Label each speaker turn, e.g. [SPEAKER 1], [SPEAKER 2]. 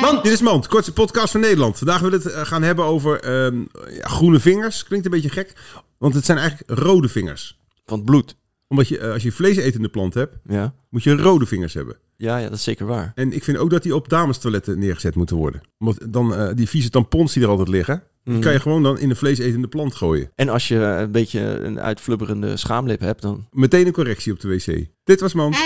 [SPEAKER 1] Mand, dit is Mand, kortste podcast van Nederland. Vandaag willen we het eh, gaan hebben over ehm, ja, groene vingers. Klinkt een beetje gek, want het zijn eigenlijk rode vingers.
[SPEAKER 2] Van het bloed.
[SPEAKER 1] Omdat je, eh, als je vleesetende plant hebt,
[SPEAKER 2] Ja.
[SPEAKER 1] moet je rode vingers hebben.
[SPEAKER 2] Ja, ja, dat is zeker waar.
[SPEAKER 1] En ik vind ook dat die op damestoiletten neergezet moeten worden. Omdat dan eh, die vieze tampons die er altijd liggen, die kan je gewoon dan in een vleesetende plant gooien.
[SPEAKER 2] En als je een beetje een uitflubberende schaamlip hebt, dan...
[SPEAKER 1] Meteen een correctie op de wc. Dit was Mand.